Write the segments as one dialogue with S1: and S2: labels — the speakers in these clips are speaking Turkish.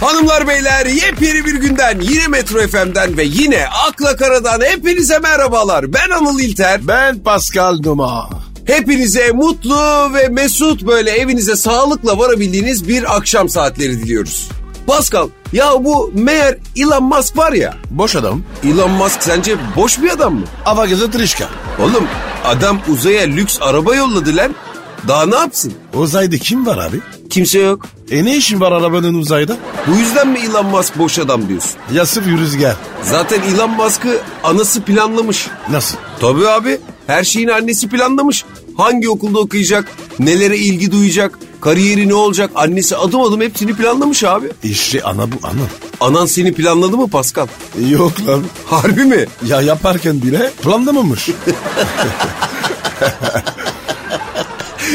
S1: Hanımlar beyler yepyeni bir günden yine Metro FM'den ve yine Akla Karadan hepinize merhabalar. Ben Anıl İlter.
S2: Ben Pascal Numa.
S1: Hepinize mutlu ve mesut böyle evinize sağlıkla varabildiğiniz bir akşam saatleri diliyoruz. Pascal ya bu meğer Elon Musk var ya.
S2: Boş adam.
S1: Elon Musk sence boş bir adam mı?
S2: Ava gazı tırışka.
S1: Oğlum adam uzaya lüks araba yolladı lan. Daha ne yapsın?
S2: Uzayda kim var abi?
S1: Kimse yok.
S2: E ne işin var arabanın uzayda?
S1: Bu yüzden mi Elon Musk boş adam diyorsun?
S2: Yasır bir rüzgar.
S1: Zaten Elon Musk'ı anası planlamış.
S2: Nasıl?
S1: Tabii abi. Her şeyin annesi planlamış. Hangi okulda okuyacak, nelere ilgi duyacak, kariyeri ne olacak annesi adım adım hepsini planlamış abi. E,
S2: İşte ana bu ana.
S1: Anan seni planladı mı Pascal?
S2: Yok lan.
S1: Harbi mi?
S2: Ya yaparken bile planlamamış.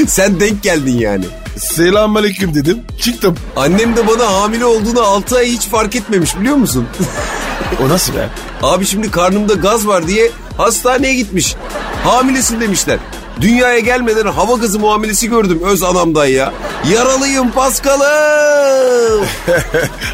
S1: Sen denk geldin yani.
S2: Selamünaleyküm dedim. Çıktım.
S1: Annem de bana hamile olduğunu 6 ay hiç fark etmemiş biliyor musun?
S2: O nasıl be?
S1: Abi şimdi karnımda gaz var diye hastaneye gitmiş. Hamilesin demişler. Dünyaya gelmeden hava gazı muamelesi gördüm öz anamdan ya. Yaralıyım Paskal'ım.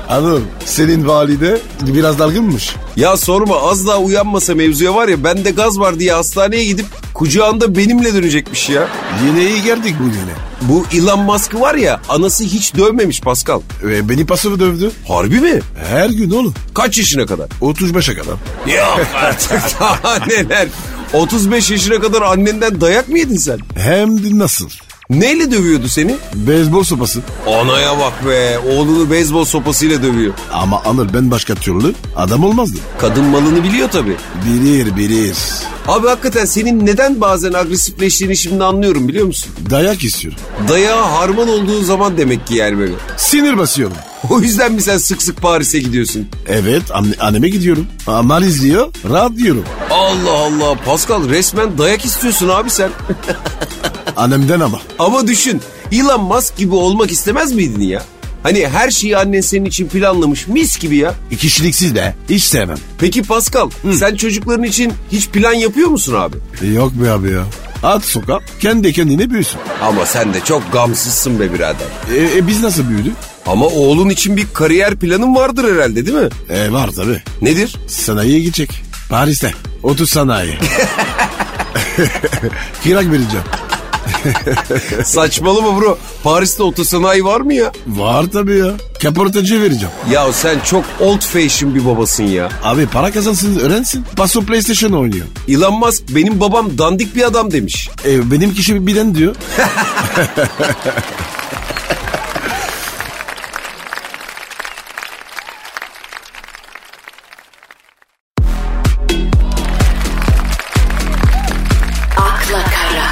S2: Anıl senin valide biraz dalgınmış.
S1: ya sorma az daha uyanmasa mevzuya var ya bende gaz var diye hastaneye gidip kucağında benimle dönecekmiş ya.
S2: Yine iyi geldik bu güne.
S1: Bu Elon Musk'ı var ya anası hiç dövmemiş Pascal.
S2: E, beni pasımı dövdü.
S1: Harbi mi?
S2: Her gün oğlum.
S1: Kaç yaşına kadar?
S2: 35'e kadar.
S1: Yok artık daha neler. 35 yaşına kadar annenden dayak mı yedin sen?
S2: Hem de nasıl?
S1: Neyle dövüyordu seni?
S2: Beyzbol sopası.
S1: Anaya bak be. Oğlunu beyzbol sopasıyla dövüyor.
S2: Ama Anıl ben başka türlü adam olmazdı.
S1: Kadın malını biliyor tabii.
S2: Bilir bilir.
S1: Abi hakikaten senin neden bazen agresifleştiğini şimdi anlıyorum biliyor musun?
S2: Dayak istiyorum.
S1: Dayağa harman olduğu zaman demek ki yani böyle.
S2: Sinir basıyorum.
S1: O yüzden mi sen sık sık Paris'e gidiyorsun?
S2: Evet anne, anneme gidiyorum. Aman izliyor. Rahat diyorum.
S1: Allah Allah Pascal resmen dayak istiyorsun abi sen.
S2: Annemden ama.
S1: Ama düşün Elon Musk gibi olmak istemez miydin ya? Hani her şeyi annen senin için planlamış mis gibi ya.
S2: E, Kişiliksiz de hiç sevmem.
S1: Peki Pascal sen çocukların için hiç plan yapıyor musun abi?
S2: E, Yok be abi ya. At sokağa kendi kendine büyüsün.
S1: Ama sen de çok gamsızsın be birader.
S2: E, e, biz nasıl büyüdük?
S1: Ama oğlun için bir kariyer planın vardır herhalde değil mi?
S2: E, var tabii.
S1: Nedir?
S2: Sanayiye gidecek. Paris'te. 30 sanayi. Kirak vereceğim.
S1: Saçmalama bro. Paris'te otosanayi var mı ya?
S2: Var tabii ya. Kaportacı vereceğim.
S1: Ya sen çok old fashion bir babasın ya.
S2: Abi para kazansın öğrensin. Paso PlayStation oynuyor.
S1: Elon Musk benim babam dandik bir adam demiş.
S2: E, benim kişi bilen diyor.
S3: akla kara,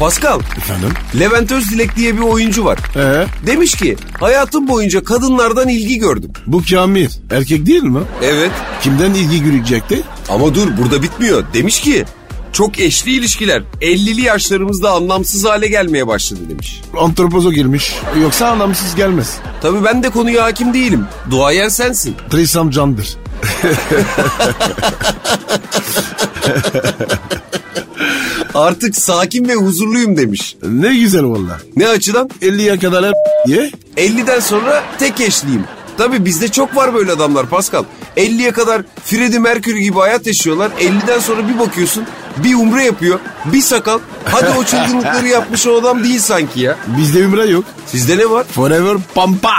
S1: Pascal,
S2: Efendim?
S1: Levent Özdilek diye bir oyuncu var.
S2: Ee,
S1: Demiş ki hayatım boyunca kadınlardan ilgi gördüm.
S2: bu Kamil erkek değil mi?
S1: Evet
S2: Kimden ilgi görecekti?
S1: ama dur burada bitmiyor. Demiş ki çok eşli ilişkiler 50'li yaşlarımızda anlamsız hale gelmeye başladı demiş.
S2: Antropozo girmiş. Yoksa anlamsız gelmez.
S1: Tabii ben de konuya hakim değilim. Duayen sensin.
S2: Trisam candır.
S1: Artık sakin ve huzurluyum demiş.
S2: Ne güzel valla.
S1: Ne açıdan?
S2: 50'ye kadar her diye.
S1: 50'den sonra tek eşliyim. Tabii bizde çok var böyle adamlar Pascal. 50'ye kadar Freddie Mercury gibi hayat yaşıyorlar. 50'den sonra bir bakıyorsun bir umre yapıyor, bir sakal. Hadi o çılgınlıkları yapmış o adam değil sanki ya.
S2: Bizde ümre yok.
S1: Sizde ne var?
S2: Forever pampa.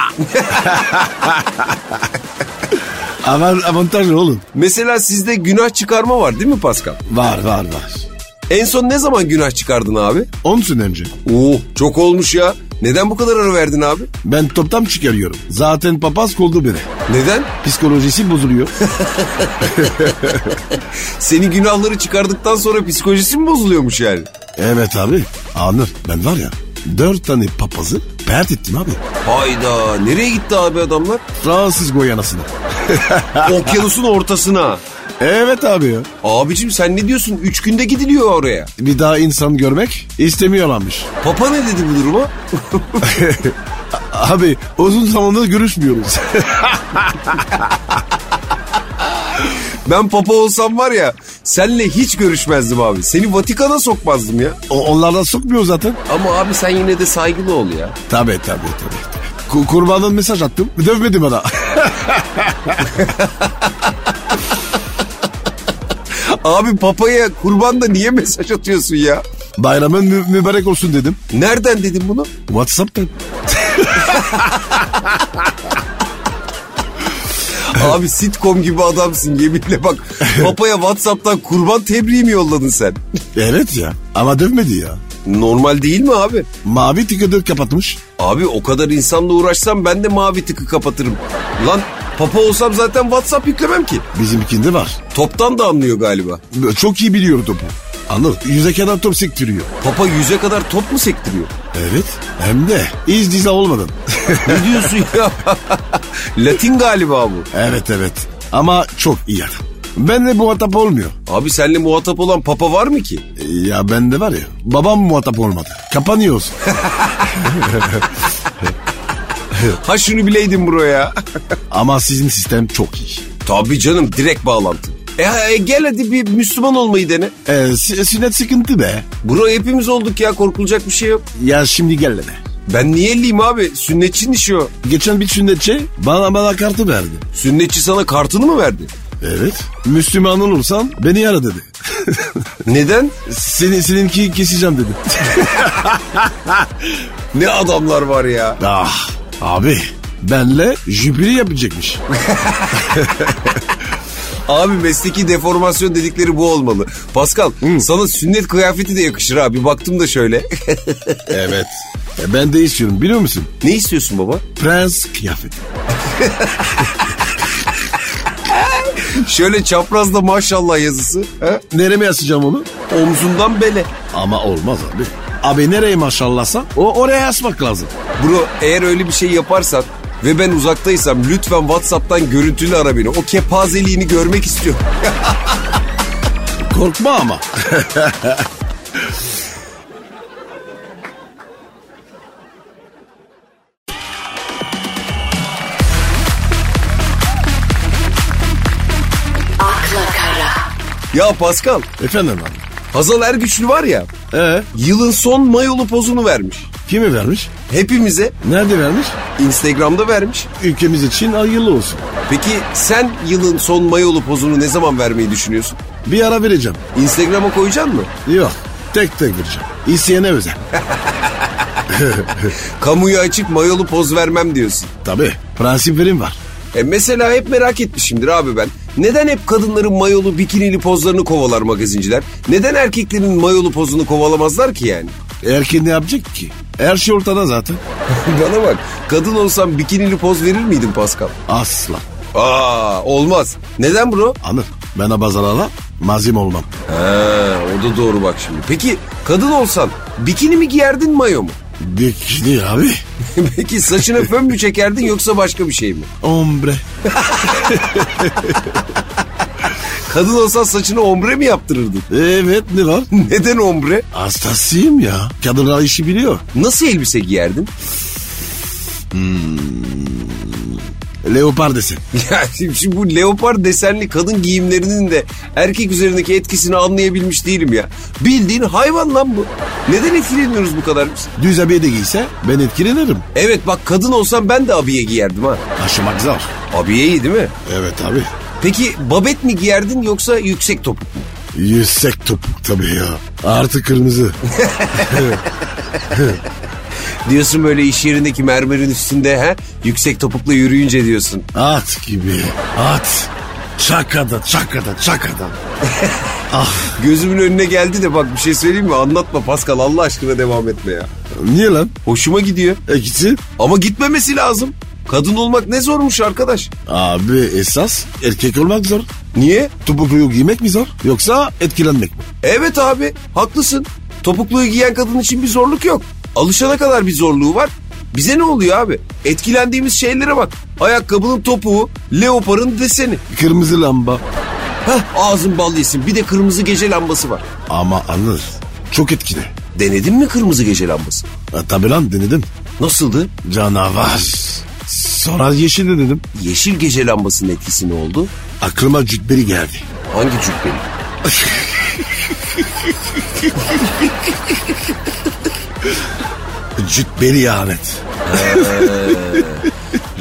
S2: Aman, avantajlı oğlum.
S1: Mesela sizde günah çıkarma var değil mi Pascal?
S2: Var var var.
S1: En son ne zaman günah çıkardın abi?
S2: 10 sene önce.
S1: Oo çok olmuş ya. Neden bu kadar ara verdin abi?
S2: Ben toptan çıkarıyorum. Zaten papaz koldu beni.
S1: Neden?
S2: Psikolojisi bozuluyor.
S1: Seni günahları çıkardıktan sonra psikolojisi mi bozuluyormuş yani?
S2: evet abi. Anır ben var ya. Dört tane papazı pert ettim abi.
S1: Hayda nereye gitti abi adamlar?
S2: Fransız Goyanası'na.
S1: Okyanusun ortasına.
S2: Evet abi ya.
S1: Abicim sen ne diyorsun? Üç günde gidiliyor oraya.
S2: Bir daha insan görmek istemiyorlarmış.
S1: Papa ne dedi bu duruma?
S2: Abi uzun zamandır görüşmüyoruz.
S1: Ben papa olsam var ya senle hiç görüşmezdim abi. Seni Vatikan'a sokmazdım ya.
S2: O- Onlarla sokmuyor zaten.
S1: Ama abi sen yine de saygılı ol ya.
S2: Tabii tabii tabii. Ku- Kurbanın mesaj attım. Dövmedi bana.
S1: Abi papaya kurban da niye mesaj atıyorsun ya?
S2: Bayramın mü- mübarek olsun dedim.
S1: Nereden dedim bunu?
S2: Whatsapp'tan.
S1: Abi sitcom gibi adamsın yeminle bak. Papaya Whatsapp'tan kurban tebriği mi yolladın sen?
S2: Evet ya ama dövmedi ya.
S1: Normal değil mi abi?
S2: Mavi tıkıdır kapatmış.
S1: Abi o kadar insanla uğraşsam ben de mavi tıkı kapatırım. Lan papa olsam zaten WhatsApp yüklemem ki.
S2: Bizimkinde var.
S1: Toptan da anlıyor galiba.
S2: Çok iyi biliyor topu. Anladın? Yüze kadar top sektiriyor.
S1: Papa yüze kadar top mu sektiriyor?
S2: Evet. Hem de iz dize olmadan.
S1: Ne diyorsun ya? Latin galiba bu.
S2: evet evet. Ama çok iyi adam. Benle muhatap olmuyor.
S1: Abi seninle muhatap olan papa var mı ki?
S2: Ya bende var ya babam muhatap olmadı. Kapanıyoruz.
S1: Ha şunu bileydin bro ya.
S2: Ama sizin sistem çok iyi.
S1: Tabii canım direkt bağlantı. E, e, gel hadi bir Müslüman olmayı dene.
S2: Ee, s- sünnet sıkıntı be.
S1: Bro hepimiz olduk ya korkulacak bir şey yok.
S2: Ya şimdi gel be.
S1: Ben niye elliyim abi? Sünnetçinin işi o.
S2: Geçen bir sünnetçi bana bana kartı verdi.
S1: Sünnetçi sana kartını mı verdi?
S2: Evet. Müslüman olursan beni ara dedi.
S1: Neden?
S2: Seni, seninki keseceğim dedi.
S1: Ne adamlar var ya.
S2: ah abi benle jübili yapacakmış.
S1: Abi mesleki deformasyon dedikleri bu olmalı. Pascal sana sünnet kıyafeti de yakışır abi. Baktım da şöyle.
S2: evet. E, ben de istiyorum biliyor musun?
S1: ne istiyorsun baba?
S2: Prens kıyafeti.
S1: Şöyle çaprazda maşallah yazısı. He?
S2: Nereye asacağım onu?
S1: Omzundan bele.
S2: Ama olmaz abi. Abi nereye maşallahsa o oraya asmak lazım.
S1: Bro eğer öyle bir şey yaparsan ve ben uzaktaysam lütfen Whatsapp'tan görüntülü ara beni. O kepazeliğini görmek istiyorum.
S2: Korkma ama.
S3: akla kara,
S1: ya Pascal,
S2: Efendim abi.
S1: Hazal Ergüçlü var ya,
S2: Ee,
S1: yılın son mayolu pozunu vermiş.
S2: kimi vermiş?
S1: Hepimize
S2: Nerede vermiş?
S1: Instagram'da vermiş.
S2: Ülkemiz için hayırlı olsun.
S1: Peki sen yılın son mayolu pozunu ne zaman vermeyi düşünüyorsun?
S2: Bir ara vereceğim.
S1: Instagram'a koyacaksın mı?
S2: Yok. Tek tek vereceğim. İsteyene özel.
S1: Kamuya açık mayolu poz vermem diyorsun.
S2: Tabii. Prensiplerim var.
S1: E mesela hep merak etmişimdir abi ben. Neden hep kadınların mayolu bikinili pozlarını kovalar magazinciler? Neden erkeklerin mayolu pozunu kovalamazlar ki yani?
S2: Erken ne yapacak ki? Her şey ortada zaten.
S1: Bana bak kadın olsam bikinili poz verir miydin Pascal?
S2: Asla.
S1: Aa olmaz. Neden bro?
S2: Anır. Ben abazarala malzeme olmam.
S1: Ha, o da doğru bak şimdi. Peki kadın olsan bikini mi giyerdin mayo mu?
S2: Bikini abi.
S1: Peki saçına fön mü çekerdin yoksa başka bir şey mi?
S2: Ombre.
S1: Kadın olsan saçını ombre mi yaptırırdın?
S2: Evet ne var?
S1: Neden ombre?
S2: Hastasıyım ya. Kadınlar işi biliyor.
S1: Nasıl elbise giyerdin?
S2: Leopar desen.
S1: Ya şimdi bu leopar desenli kadın giyimlerinin de erkek üzerindeki etkisini anlayabilmiş değilim ya. Bildiğin hayvan lan bu. Neden etkileniyoruz bu kadar biz?
S2: Düz abiye de giyse ben etkilenirim.
S1: Evet bak kadın olsam ben de abiye giyerdim ha.
S2: Taşımak zor.
S1: Abiye iyi değil mi?
S2: Evet abi.
S1: Peki babet mi giyerdin yoksa yüksek topuk mu?
S2: Yüksek topuk tabii ya. Artı kırmızı.
S1: Diyorsun böyle iş yerindeki mermerin üstünde ha? Yüksek topukla yürüyünce diyorsun.
S2: At gibi. At. Çakada çakada çakada. ah
S1: Gözümün önüne geldi de bak bir şey söyleyeyim mi? Anlatma Pascal Allah aşkına devam etme ya.
S2: niye lan?
S1: Hoşuma gidiyor.
S2: E gitsin.
S1: Ama gitmemesi lazım. Kadın olmak ne zormuş arkadaş.
S2: Abi esas erkek olmak zor.
S1: Niye?
S2: Topukluyu giymek mi zor yoksa etkilenmek mi?
S1: Evet abi haklısın. Topukluyu giyen kadın için bir zorluk yok. Alışana kadar bir zorluğu var. Bize ne oluyor abi? Etkilendiğimiz şeylere bak. Ayakkabının topuğu, leoparın deseni.
S2: Kırmızı lamba.
S1: Heh ağzın bal yesin. Bir de kırmızı gece lambası var.
S2: Ama anır. Çok etkili.
S1: Denedin mi kırmızı gece lambası?
S2: E, tabii lan denedim.
S1: Nasıldı?
S2: Canavar. Sonra yeşil de dedim.
S1: Yeşil gece lambasının etkisi ne oldu?
S2: Aklıma cübbeli geldi.
S1: Hangi cübbeli?
S2: Cübbeli Ahmet.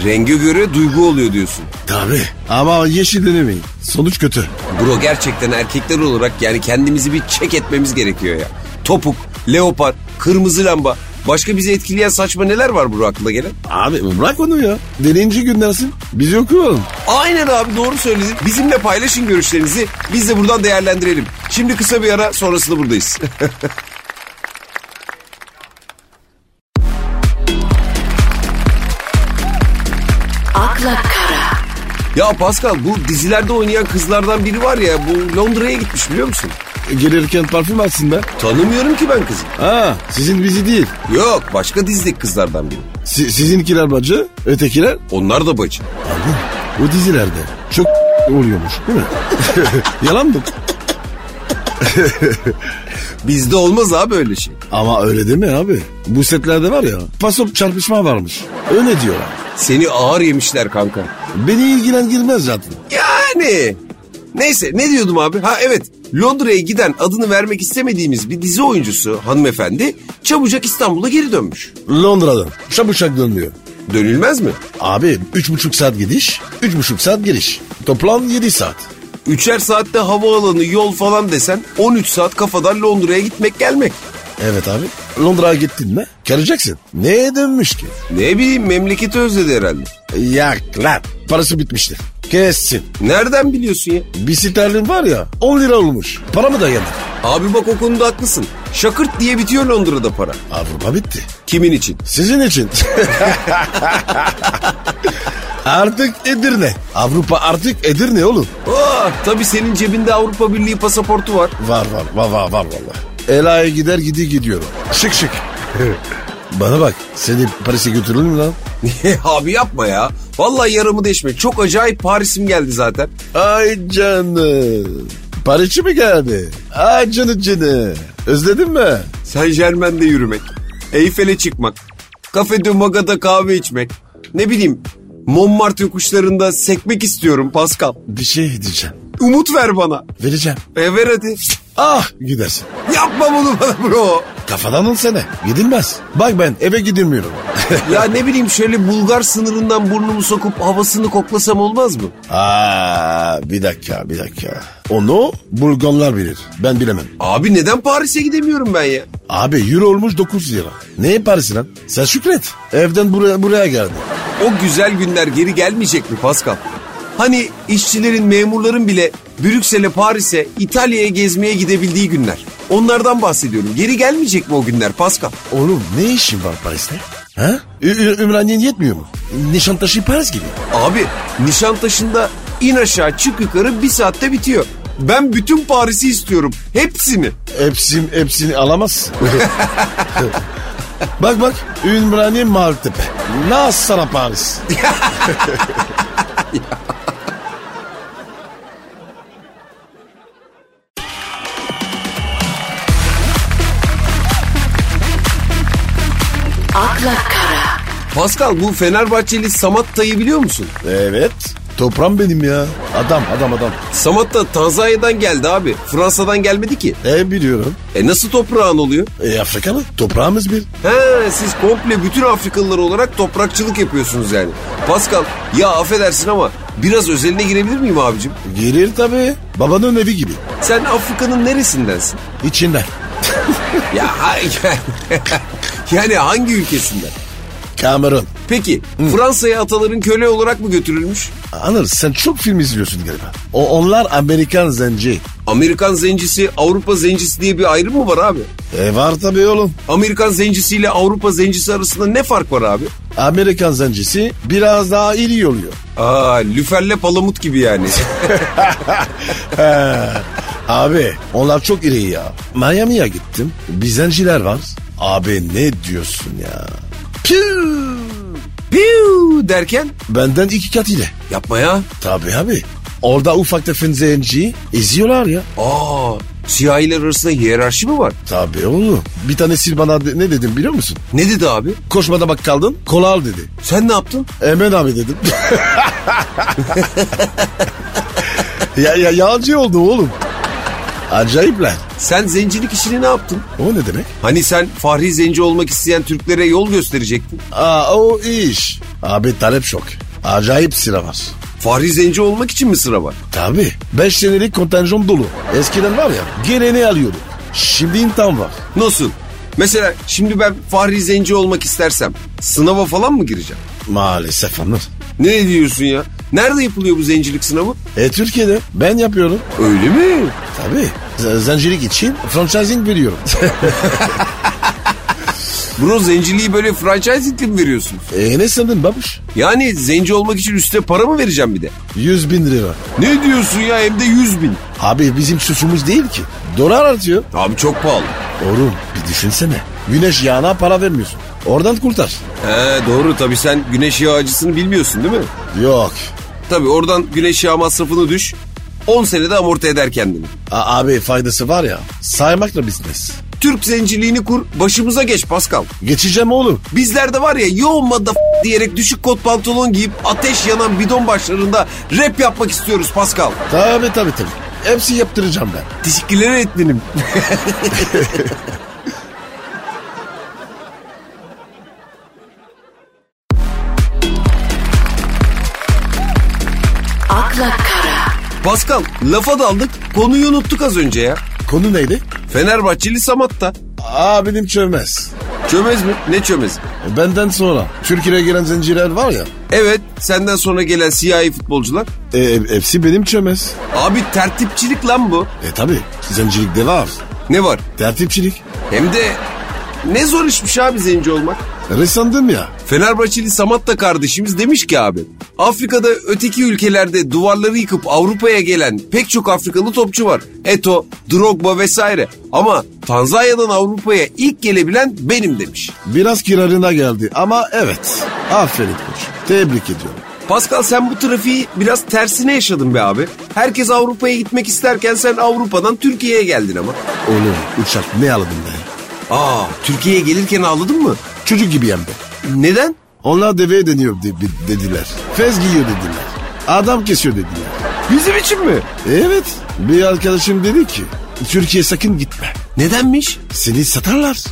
S1: Renge göre duygu oluyor diyorsun.
S2: Tabii. Ama yeşil denemeyin. Sonuç kötü.
S1: Bro gerçekten erkekler olarak yani kendimizi bir çek etmemiz gerekiyor ya. Topuk, leopar, kırmızı lamba. Başka bizi etkileyen saçma neler var bro aklına gelen?
S2: Abi bırak onu ya. Deneyince günlersin. Biz yok oğlum.
S1: Aynen abi doğru söyledin. Bizimle paylaşın görüşlerinizi. Biz de buradan değerlendirelim. Şimdi kısa bir ara sonrasında buradayız.
S3: Akla kara.
S1: ya Pascal bu dizilerde oynayan kızlardan biri var ya bu Londra'ya gitmiş biliyor musun?
S2: Gelirken parfüm alsın be.
S1: Tanımıyorum ki ben kızı.
S2: Ha sizin bizi değil.
S1: Yok başka dizideki kızlardan biri.
S2: Si- sizinkiler bacı, ötekiler.
S1: Onlar da bacı.
S2: Abi bu dizilerde çok oluyormuş değil mi? Yalan mı?
S1: Bizde olmaz abi öyle şey.
S2: Ama öyle değil mi abi? Bu setlerde var ya pasop çarpışma varmış. Öyle diyorlar.
S1: Seni ağır yemişler kanka.
S2: Beni ilgilendirmez zaten.
S1: Yani. Neyse ne diyordum abi? Ha evet Londra'ya giden adını vermek istemediğimiz bir dizi oyuncusu hanımefendi çabucak İstanbul'a geri dönmüş.
S2: Londra'dan şapuşak dönmüyor.
S1: Dönülmez mi?
S2: Abi üç buçuk saat gidiş, üç buçuk saat geliş. Toplam 7 saat.
S1: Üçer saatte havaalanı yol falan desen 13 saat kafadan Londra'ya gitmek gelmek.
S2: Evet abi. Londra'ya gittin mi? Geleceksin. Neye dönmüş ki?
S1: Ne bileyim memleketi özledi herhalde.
S2: Yak lan. Parası bitmiştir. Kessin.
S1: Nereden biliyorsun ya?
S2: Bir sterlin var ya 10 lira olmuş. Para mı da yener?
S1: Abi bak o konuda haklısın. Şakırt diye bitiyor Londra'da para.
S2: Avrupa bitti.
S1: Kimin için?
S2: Sizin için. artık Edirne. Avrupa artık Edirne oğlum.
S1: Aa, Ah, tabii senin cebinde Avrupa Birliği pasaportu var.
S2: Var var var var var valla. Ela'ya gider gidi gidiyorum. Şık şık. Bana bak seni Paris'e götürür mü lan?
S1: Abi yapma ya. Vallahi yaramı deşme. Çok acayip Paris'im geldi zaten.
S2: Ay canım. Paris'e mi geldi? Ay canı canı. Özledin mi?
S1: Saint Germain'de yürümek. Eyfel'e çıkmak. Kafede Maga'da kahve içmek. Ne bileyim Montmartre yokuşlarında sekmek istiyorum Pascal.
S2: Bir şey diyeceğim.
S1: Umut ver bana.
S2: Vereceğim.
S1: E ver hadi.
S2: Ah gidersin.
S1: Yapma bunu bana bro.
S2: Kafadan alsana. Gidilmez. Bak ben eve gidemiyorum.
S1: Ya ne bileyim şöyle Bulgar sınırından burnumu sokup havasını koklasam olmaz mı?
S2: Aa, bir dakika bir dakika. Onu Bulgarlar bilir. Ben bilemem.
S1: Abi neden Paris'e gidemiyorum ben ya?
S2: Abi euro olmuş 9 lira. Neye Paris'i lan? Sen şükret. Evden buraya, buraya geldi.
S1: O güzel günler geri gelmeyecek mi Pascal? Hani işçilerin, memurların bile Brüksel'e, Paris'e, İtalya'ya gezmeye gidebildiği günler. Onlardan bahsediyorum. Geri gelmeyecek mi o günler Pascal?
S2: Oğlum ne işin var Paris'te? Ha? Ü- Ü- Ümraniye yetmiyor mu? Nişantaşı Paris gibi.
S1: Abi Nişantaşı'nda in aşağı çık yukarı bir saatte bitiyor. Ben bütün Paris'i istiyorum. Hepsini.
S2: Hepsini, hepsini alamazsın. bak bak Ümraniye Maltepe. Nasıl sana Paris?
S3: Akla kara.
S1: Pascal bu Fenerbahçeli Samatta'yı biliyor musun?
S2: Evet. Toprağım benim ya. Adam adam adam.
S1: Samatta Tanzanya'dan geldi abi. Fransa'dan gelmedi ki.
S2: E biliyorum.
S1: E nasıl toprağın oluyor?
S2: E Afrikalı. Toprağımız bir.
S1: He siz komple bütün Afrikalılar olarak toprakçılık yapıyorsunuz yani. Pascal ya affedersin ama biraz özeline girebilir miyim abicim?
S2: Gelir tabii. Babanın evi gibi.
S1: Sen Afrika'nın neresindensin?
S2: İçinden.
S1: ya ha- yani hangi ülkesinden?
S2: Kamerun.
S1: Peki Fransa'ya ataların köle olarak mı götürülmüş?
S2: Anır sen çok film izliyorsun galiba. O onlar Amerikan zenci.
S1: Amerikan zencisi Avrupa zencisi diye bir ayrım mı var abi?
S2: E var tabii oğlum.
S1: Amerikan zencisiyle Avrupa zencisi arasında ne fark var abi?
S2: Amerikan zencisi biraz daha iyi oluyor.
S1: Aa lüferle palamut gibi yani.
S2: Abi onlar çok iri ya. Miami'ye gittim. Bir zenciler var. Abi ne diyorsun ya? Piu!
S1: Piu derken
S2: Benden iki kat ile.
S1: yapma ya.
S2: Tabii abi. Orada ufak tefek zenciyi eziyorlar ya.
S1: Aa siyahiler arasında hiyerarşi mi var?
S2: Tabii oğlum. Bir tanesi bana de- ne dedim biliyor musun?
S1: Ne dedi abi?
S2: Koşmada bak kaldın. Kola al dedi.
S1: Sen ne yaptın?
S2: Emen abi dedim. ya, ya yağcı oldu oğlum. Acayipler.
S1: Sen zencilik işini ne yaptın?
S2: O ne demek?
S1: Hani sen Fahri Zenci olmak isteyen Türklere yol gösterecektin.
S2: Aa o iş. Abi talep çok. Acayip sıra var.
S1: Fahri Zenci olmak için mi sıra var?
S2: Tabii. 5 senelik kontenjan dolu. Eskiden var ya geleni alıyorduk. Şimdi imtihan var.
S1: Nasıl? Mesela şimdi ben Fahri Zenci olmak istersem sınava falan mı gireceğim?
S2: Maalesef anlar.
S1: Ne diyorsun ya? Nerede yapılıyor bu zencilik sınavı?
S2: E Türkiye'de ben yapıyorum.
S1: Öyle mi?
S2: Tabii. Z- Zencilik için franchising veriyorum.
S1: Bro zenciliği böyle franchising'li mi veriyorsunuz?
S2: e ne sandın babuş?
S1: Yani zenci olmak için üstüne para mı vereceğim bir de?
S2: 100 bin lira.
S1: Ne diyorsun ya hem de 100 bin.
S2: Abi bizim suçumuz değil ki. Dolar artıyor.
S1: Abi çok pahalı.
S2: Oğlum bir düşünsene. Güneş yağına para vermiyorsun. Oradan kurtar.
S1: He doğru tabii sen güneş yağı acısını bilmiyorsun değil mi?
S2: Yok.
S1: Tabii oradan güneş yağı masrafını düş. 10 senede amorti eder kendini.
S2: A- abi faydası var ya saymakla bitmez.
S1: Türk zenciliğini kur başımıza geç Pascal.
S2: Geçeceğim oğlum.
S1: Bizlerde var ya yoğun madda f- diyerek düşük kot pantolon giyip ateş yanan bidon başlarında rap yapmak istiyoruz Pascal.
S2: Tabii tabii tabii. Hepsi yaptıracağım ben.
S1: Teşekkürler etmenim.
S3: akla kara,
S1: Pascal lafa daldık konuyu unuttuk az önce ya.
S2: Konu neydi?
S1: Fenerbahçeli Samat'ta.
S2: Abinim çövmez.
S1: Çömez mi? Ne çömez?
S2: E, Benden sonra Türkiye'ye gelen zenciler var ya.
S1: Evet senden sonra gelen siyahi futbolcular.
S2: E, hepsi benim çömez.
S1: Abi tertipçilik lan bu.
S2: E tabi zencilikte var.
S1: Ne var?
S2: Tertipçilik.
S1: Hem de ne zor işmiş abi zenci olmak.
S2: Resandım ya.
S1: Fenerbahçeli Samat da kardeşimiz demiş ki abi. Afrika'da öteki ülkelerde duvarları yıkıp Avrupa'ya gelen pek çok Afrikalı topçu var. Eto, Drogba vesaire. Ama Tanzanya'dan Avrupa'ya ilk gelebilen benim demiş.
S2: Biraz kirarına geldi ama evet. Aferin koç. Tebrik ediyorum.
S1: Pascal sen bu trafiği biraz tersine yaşadın be abi. Herkes Avrupa'ya gitmek isterken sen Avrupa'dan Türkiye'ye geldin ama.
S2: Oğlum uçak ne aldın be?
S1: Aa Türkiye'ye gelirken ağladın mı?
S2: Çocuk gibi yembe.
S1: Neden?
S2: Onlar deveye deniyor de- de- dediler. Fez giyiyor dediler. Adam kesiyor dediler.
S1: Bizim için mi?
S2: Evet. Bir arkadaşım dedi ki Türkiye sakın gitme.
S1: Nedenmiş?
S2: Seni satarlar.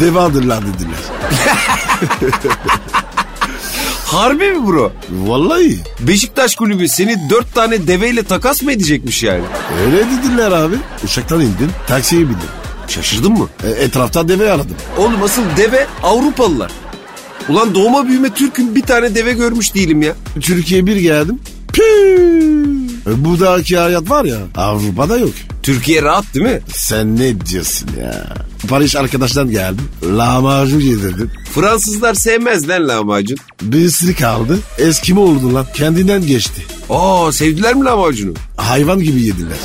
S2: Devadırlar dediler.
S1: Harbi mi bro?
S2: Vallahi
S1: Beşiktaş kulübü seni dört tane deveyle takas mı edecekmiş yani?
S2: öyle dediler abi. Uçaktan indim, taksiye bindim.
S1: Şaşırdın mı?
S2: E, etrafta deve aradım.
S1: Oğlum asıl deve Avrupalılar. Ulan doğma büyüme Türk'üm bir tane deve görmüş değilim ya.
S2: Türkiye'ye bir geldim. Püü. E, buradaki hayat var ya Avrupa'da yok.
S1: Türkiye rahat değil mi?
S2: Sen ne diyorsun ya? Paris arkadaştan geldim. Lahmacun yedirdim.
S1: Fransızlar sevmez lan lahmacun.
S2: Bir ısırık aldı. Eskimi oldu lan. Kendinden geçti.
S1: Aa sevdiler mi lahmacunu?
S2: Hayvan gibi yediler.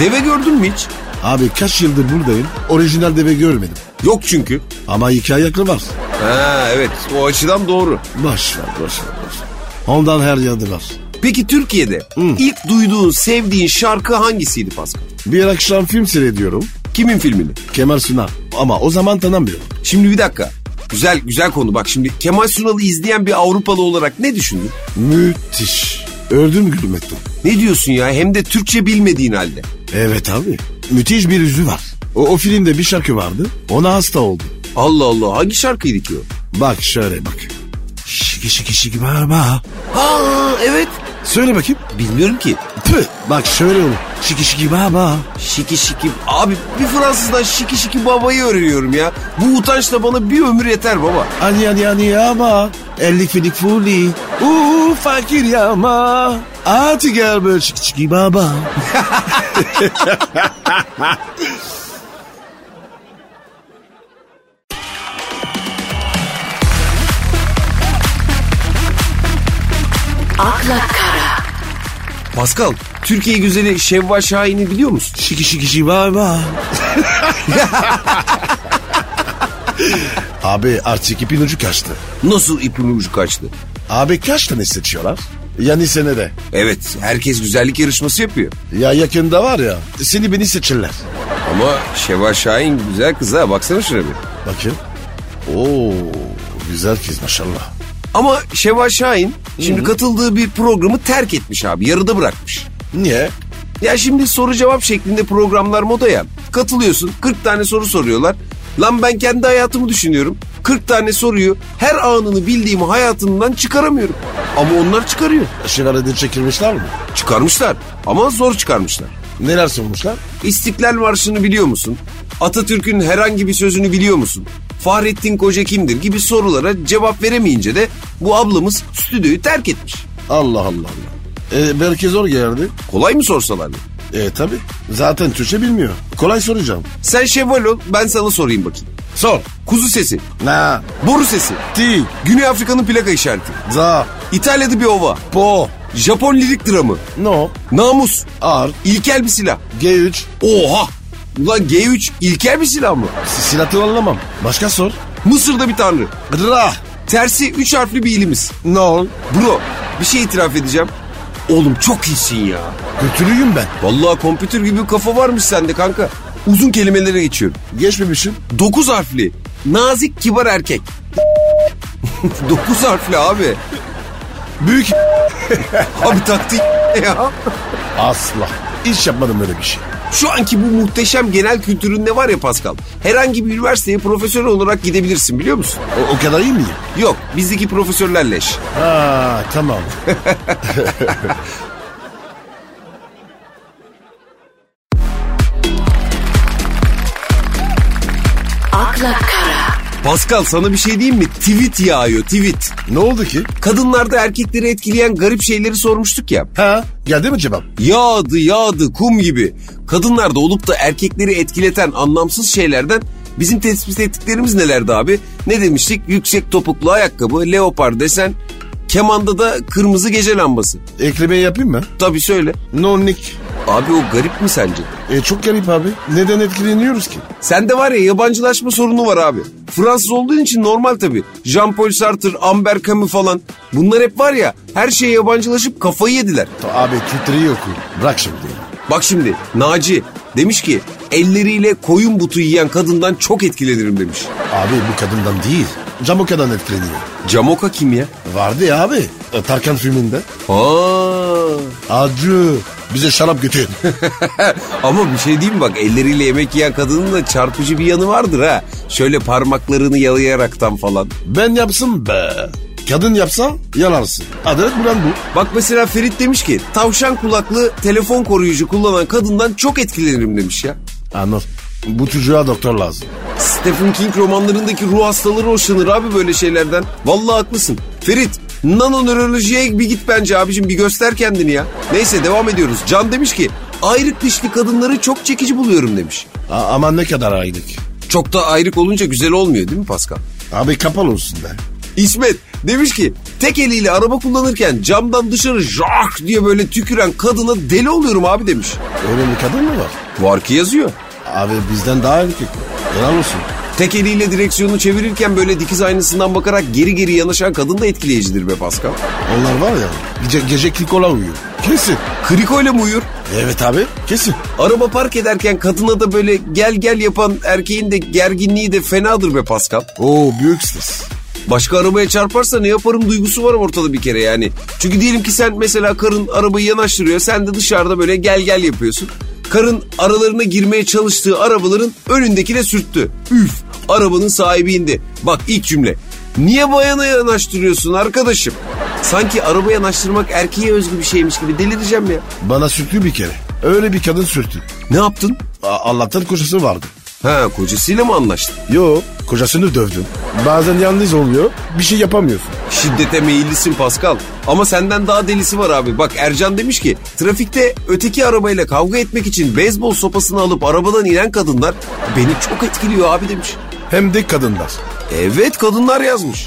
S1: Deve gördün mü hiç?
S2: Abi kaç yıldır buradayım. Orijinal deve görmedim.
S1: Yok çünkü.
S2: Ama hikaye yakın var.
S1: Ha evet o açıdan doğru.
S2: Boş ver, boş ver, boş ver. Ondan her yerde var.
S1: Peki Türkiye'de ilk duyduğun sevdiğin şarkı hangisiydi Pascal?
S2: Bir akşam film seyrediyorum.
S1: Kimin filmini?
S2: Kemal Sunal. Ama o zaman tanımıyorum.
S1: Şimdi bir dakika. Güzel güzel konu bak şimdi Kemal Sunal'ı izleyen bir Avrupalı olarak ne düşündün?
S2: Müthiş. Ördüm gülüm ettim.
S1: Ne diyorsun ya hem de Türkçe bilmediğin halde.
S2: Evet abi. Müthiş bir yüzü var. O, o filmde bir şarkı vardı. Ona hasta oldu.
S1: Allah Allah hangi şarkıydı ki o?
S2: Bak şöyle bak. Şiki şiki şiki barba.
S1: Ha evet.
S2: Söyle bakayım.
S1: Bilmiyorum ki.
S2: Püh. Bak şöyle olur. Şiki şiki barba.
S1: Şiki şiki. Abi bir Fransızdan şiki şiki babayı öğreniyorum ya. Bu utançla bana bir ömür yeter baba.
S2: Ani ani ani ama. Ellik filik fuli. Uuu fakir yama. Artık gel böyle şiki şiki barba.
S3: akla kara,
S1: Pascal, Türkiye güzeli Şevval Şahin'i biliyor musun?
S2: Şiki şiki şiki barba. Abi artık ipin ucu kaçtı.
S1: Nasıl ipin ucu kaçtı?
S2: Abi kaç tane seçiyorlar? Yani senede.
S1: Evet, herkes güzellik yarışması yapıyor.
S2: Ya yakında var ya seni beni seçirler.
S1: Ama Şevval Şahin güzel kız ha, baksana şuna bir.
S2: Bakın. Oo güzel kız maşallah.
S1: Ama Şevval Şahin şimdi katıldığı bir programı terk etmiş abi, yarıda bırakmış.
S2: Niye?
S1: Ya şimdi soru cevap şeklinde programlar moda ya. Katılıyorsun 40 tane soru soruyorlar. Lan ben kendi hayatımı düşünüyorum. 40 tane soruyu her anını bildiğim hayatımdan çıkaramıyorum. Ama onlar çıkarıyor.
S2: Şener Aydın çekilmişler mi?
S1: Çıkarmışlar ama zor çıkarmışlar.
S2: Neler sormuşlar?
S1: İstiklal Marşı'nı biliyor musun? Atatürk'ün herhangi bir sözünü biliyor musun? Fahrettin Koca kimdir gibi sorulara cevap veremeyince de bu ablamız stüdyoyu terk etmiş.
S2: Allah Allah Allah. E, belki zor geldi.
S1: Kolay mı sorsalar?
S2: E tabi. Zaten Türkçe bilmiyor. Kolay soracağım.
S1: Sen şevval ol ben sana sorayım bakayım.
S2: Sor.
S1: Kuzu sesi,
S2: Na.
S1: boru sesi,
S2: Ti.
S1: Güney Afrika'nın plaka işareti,
S2: Za.
S1: İtalya'da bir ova,
S2: Po.
S1: Japon lirik dramı,
S2: No.
S1: namus,
S2: Ar.
S1: ilkel bir silah.
S2: G3.
S1: Oha! Ulan G3 ilkel bir silah mı?
S2: Silahı anlamam. Başka sor.
S1: Mısır'da bir tanrı.
S2: Ra.
S1: Tersi üç harfli bir ilimiz.
S2: No.
S1: Bro bir şey itiraf edeceğim. Oğlum çok iyisin ya.
S2: Kötülüyüm ben.
S1: Vallahi kompütür gibi kafa varmış sende kanka. Uzun kelimelere geçiyorum.
S2: Geçmemişim.
S1: Dokuz harfli. Nazik kibar erkek. Dokuz harfli abi.
S2: Büyük
S1: Abi taktik ya.
S2: asla. Hiç yapmadım öyle bir şey.
S1: Şu anki bu muhteşem genel kültüründe var ya Pascal. Herhangi bir üniversiteye profesör olarak gidebilirsin biliyor musun?
S2: O, o kadar iyi miyim?
S1: Yok bizdeki profesörler leş.
S2: Ha tamam.
S3: akla kara,
S1: Pascal sana bir şey diyeyim mi? Tweet yağıyor tweet.
S2: ne oldu ki?
S1: Kadınlarda erkekleri etkileyen garip şeyleri sormuştuk ya.
S2: Ha geldi mi cevap?
S1: Yağdı yağdı kum gibi. Kadınlarda olup da erkekleri etkileten anlamsız şeylerden bizim tespit ettiklerimiz nelerdi abi? Ne demiştik? Yüksek topuklu ayakkabı, leopar desen, kemanda da kırmızı gece lambası.
S2: Eklemeyi yapayım mı?
S1: Tabii söyle.
S2: Nonnik.
S1: Abi o garip mi sence?
S2: E, çok garip abi. Neden etkileniyoruz ki?
S1: Sende var ya yabancılaşma sorunu var abi. Fransız olduğun için normal tabii. Jean-Paul Sartre, Amber Camus falan. Bunlar hep var ya her şeye yabancılaşıp kafayı yediler.
S2: Abi Twitter'ı oku. Bırak şimdi.
S1: Bak şimdi Naci demiş ki elleriyle koyun butu yiyen kadından çok etkilenirim demiş.
S2: Abi bu kadından değil. Camoka'dan etkileniyor.
S1: Camoka kim ya?
S2: Vardı ya abi. e, Tarkan filminde.
S1: Aa.
S2: Acı. Bize şarap götür.
S1: Ama bir şey diyeyim mi? bak elleriyle yemek yiyen kadının da çarpıcı bir yanı vardır ha. Şöyle parmaklarını yalayaraktan falan.
S2: ben yapsın be. Kadın yapsa yalarsın. Adalet mi lan bu?
S1: Bak mesela Ferit demiş ki tavşan kulaklı telefon koruyucu kullanan kadından çok etkilenirim demiş ya.
S2: Anlat. Bu çocuğa doktor lazım.
S1: Stephen King romanlarındaki ruh hastaları hoşlanır abi böyle şeylerden. Vallahi haklısın. Ferit nano nörolojiye bir git bence abicim bir göster kendini ya. Neyse devam ediyoruz. Can demiş ki ayrık dişli kadınları çok çekici buluyorum demiş.
S2: A- aman ne kadar aylık.
S1: Çok da ayrık olunca güzel olmuyor değil mi Pascal?
S2: Abi kapalı olsun be.
S1: İsmet demiş ki tek eliyle araba kullanırken camdan dışarı jak diye böyle tüküren kadına deli oluyorum abi demiş.
S2: Öyle bir kadın mı var?
S1: Var ki yazıyor.
S2: Abi bizden daha erkek. Helal olsun.
S1: Tek eliyle direksiyonu çevirirken böyle dikiz aynasından bakarak geri geri yanaşan kadın da etkileyicidir be Pascal.
S2: Onlar var ya gece, gece klikola uyuyor. Kesin.
S1: Kriko ile mi uyur?
S2: Evet abi kesin.
S1: Araba park ederken kadına da böyle gel gel yapan erkeğin de gerginliği de fenadır be Pascal.
S2: Oo büyük stres.
S1: Başka arabaya çarparsa ne yaparım duygusu var ortada bir kere yani. Çünkü diyelim ki sen mesela karın arabayı yanaştırıyor. Sen de dışarıda böyle gel gel yapıyorsun. Karın aralarına girmeye çalıştığı arabaların önündekine sürttü. Üf arabanın sahibi indi. Bak ilk cümle. Niye bayana yanaştırıyorsun arkadaşım? Sanki araba yanaştırmak erkeğe özgü bir şeymiş gibi delireceğim ya.
S2: Bana sürtü bir kere. Öyle bir kadın sürtü.
S1: Ne yaptın?
S2: A- Allah'tan kocası vardı.
S1: Ha kocasıyla mı anlaştın?
S2: Yo kocasını dövdüm. Bazen yalnız oluyor bir şey yapamıyorsun.
S1: Şiddete meyillisin Pascal. Ama senden daha delisi var abi. Bak Ercan demiş ki trafikte öteki arabayla kavga etmek için beyzbol sopasını alıp arabadan inen kadınlar beni çok etkiliyor abi demiş.
S2: Hem de kadınlar.
S1: Evet kadınlar yazmış.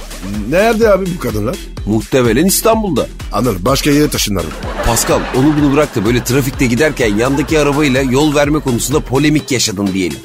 S2: Nerede abi bu kadınlar?
S1: Muhtemelen İstanbul'da.
S2: Anır başka yere taşınlar.
S1: Pascal onu bunu bırak da böyle trafikte giderken yandaki arabayla yol verme konusunda polemik yaşadın diyelim.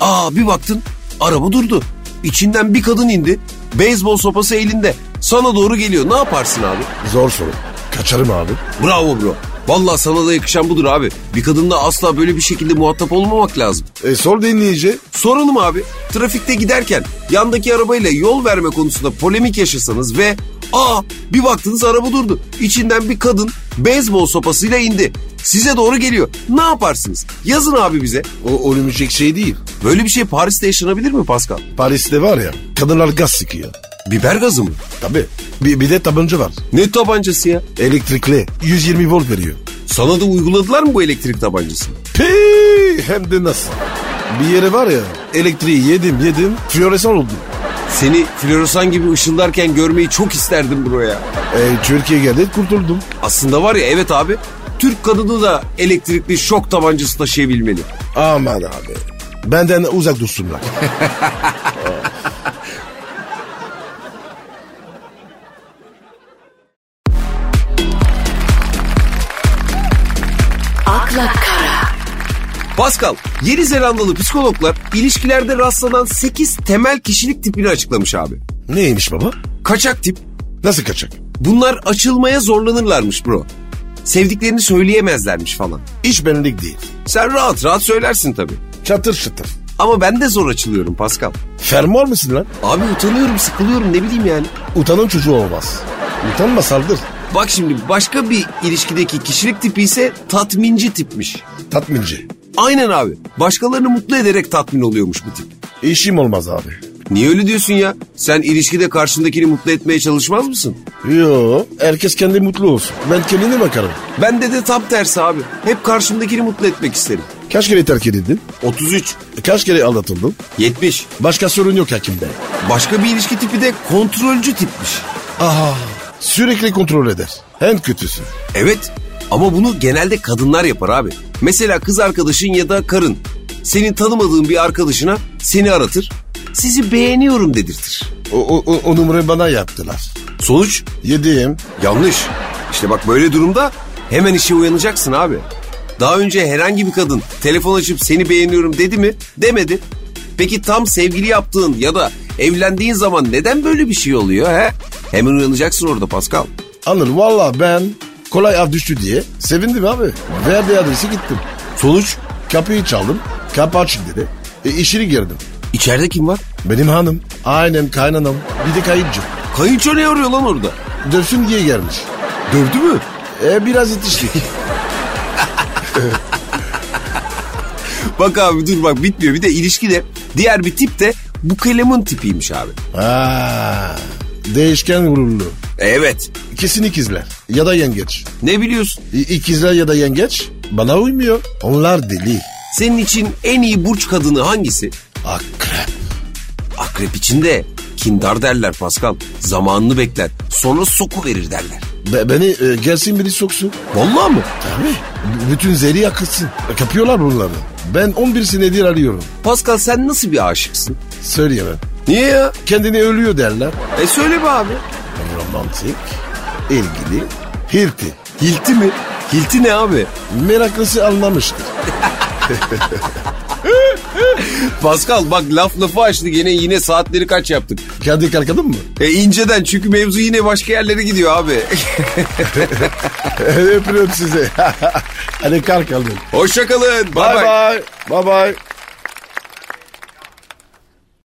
S1: Aa bir baktın araba durdu. İçinden bir kadın indi. Beyzbol sopası elinde. Sana doğru geliyor. Ne yaparsın abi?
S2: Zor soru. Kaçarım abi.
S1: Bravo bro. Vallahi sana da yakışan budur abi. Bir kadınla asla böyle bir şekilde muhatap olmamak lazım.
S2: E, sor dinleyici.
S1: Soralım abi. Trafikte giderken yandaki arabayla yol verme konusunda polemik yaşasanız ve aa bir baktınız araba durdu. İçinden bir kadın beyzbol sopasıyla indi. Size doğru geliyor. Ne yaparsınız? Yazın abi bize.
S2: O ölümcek şey değil.
S1: Böyle bir şey Paris'te yaşanabilir mi Pascal?
S2: Paris'te var ya kadınlar gaz sıkıyor.
S1: Biber gazı mı?
S2: Tabii. Bir, bir de tabanca var.
S1: Ne tabancası ya?
S2: Elektrikli. 120 volt veriyor.
S1: Sana da uyguladılar mı bu elektrik tabancasını?
S2: Pii, hem de nasıl. Bir yere var ya elektriği yedim yedim floresan oldu.
S1: Seni floresan gibi ışıldarken görmeyi çok isterdim buraya.
S2: E, Türkiye geldi kurtuldum.
S1: Aslında var ya evet abi Türk kadını da elektrikli şok tabancası taşıyabilmeli.
S2: Aman abi. Benden uzak dursunlar.
S3: akla kara,
S1: Pascal, Yeni Zelandalı psikologlar ilişkilerde rastlanan 8 temel kişilik tipini açıklamış abi.
S2: Neymiş baba?
S1: Kaçak tip,
S2: Nasıl kaçak?
S1: bunlar açılmaya zorlanırlarmış bro. Sevdiklerini söyleyemezlermiş falan.
S2: İş benlik değil.
S1: Sen rahat rahat söylersin tabii.
S2: Çatır çatır.
S1: Ama ben de zor açılıyorum Pascal.
S2: Fermuar mısın lan?
S1: Abi utanıyorum, sıkılıyorum ne bileyim yani.
S2: Utanan çocuğu olmaz. Utanma saldır.
S1: Bak şimdi başka bir ilişkideki kişilik tipi ise tatminci tipmiş.
S2: Tatminci.
S1: Aynen abi. Başkalarını mutlu ederek tatmin oluyormuş bu tip.
S2: İşim olmaz abi.
S1: Niye öyle diyorsun ya? Sen ilişkide karşındakini mutlu etmeye çalışmaz mısın?
S2: Yo, herkes kendi mutlu olsun. Ben kendine bakarım.
S1: Bende de tam tersi abi. Hep karşımdakini mutlu etmek isterim.
S2: Kaç kere terk edildin?
S1: 33,
S2: Kaç kere aldatıldın?
S1: 70.
S2: Başka sorun yok hakimde.
S1: Başka bir ilişki tipi de kontrolcü tipmiş.
S2: Aha. Sürekli kontrol eder. En kötüsü.
S1: Evet ama bunu genelde kadınlar yapar abi. Mesela kız arkadaşın ya da karın. Senin tanımadığın bir arkadaşına seni aratır. Sizi beğeniyorum dedirtir.
S2: O, o, o, o numarayı bana yaptılar.
S1: Sonuç
S2: Yediğim.
S1: Yanlış. İşte bak böyle durumda hemen işe uyanacaksın abi. Daha önce herhangi bir kadın telefon açıp seni beğeniyorum dedi mi? Demedi. Peki tam sevgili yaptığın ya da evlendiğin zaman neden böyle bir şey oluyor he? Hemen uyanacaksın orada Pascal.
S2: Anır valla ben kolay av düştü diye sevindim abi. Verdi adresi gittim.
S1: Sonuç?
S2: Kapıyı çaldım. Kapı açık dedi. E, işini girdim.
S1: İçeride kim var?
S2: Benim hanım. Aynen kaynanam. Bir de kayıtçı.
S1: Kayınço ne arıyor lan orada?
S2: Dövsün diye gelmiş.
S1: Dövdü mü?
S2: E biraz itiştik.
S1: Bak abi dur bak bitmiyor. Bir de ilişki de diğer bir tip de bu kalemin tipiymiş abi.
S2: Aa, değişken gururlu.
S1: E, Evet.
S2: Kesin ikizler ya da yengeç.
S1: Ne biliyorsun?
S2: İ- İkizler ya da yengeç bana uymuyor. Onlar deli.
S1: Senin için en iyi burç kadını hangisi?
S2: Akrep.
S1: Akrep içinde kindar derler Pascal. Zamanını bekler. Sonra soku verir derler.
S2: Be- beni e, gelsin biri soksun.
S1: Vallahi mı?
S2: Tabii. B- bütün zeri yakılsın. Kapıyorlar bunları. Ben 11 senedir arıyorum.
S1: Pascal sen nasıl bir aşıksın?
S2: Söyleyemem.
S1: Niye ya?
S2: Kendini ölüyor derler.
S1: E söyle be abi.
S2: Romantik, ilgili, hirti.
S1: Hilti mi? Hilti ne abi?
S2: Meraklısı anlamıştır.
S1: Pascal bak laf lafı açtı gene yine saatleri kaç yaptık.
S2: Kendi kalkadın mı?
S1: E inceden çünkü mevzu yine başka yerlere gidiyor abi.
S2: Öpüyorum sizi. Hadi kalkalım.
S1: Hoşçakalın. Bye bye.
S2: Bye bye. Bye bye.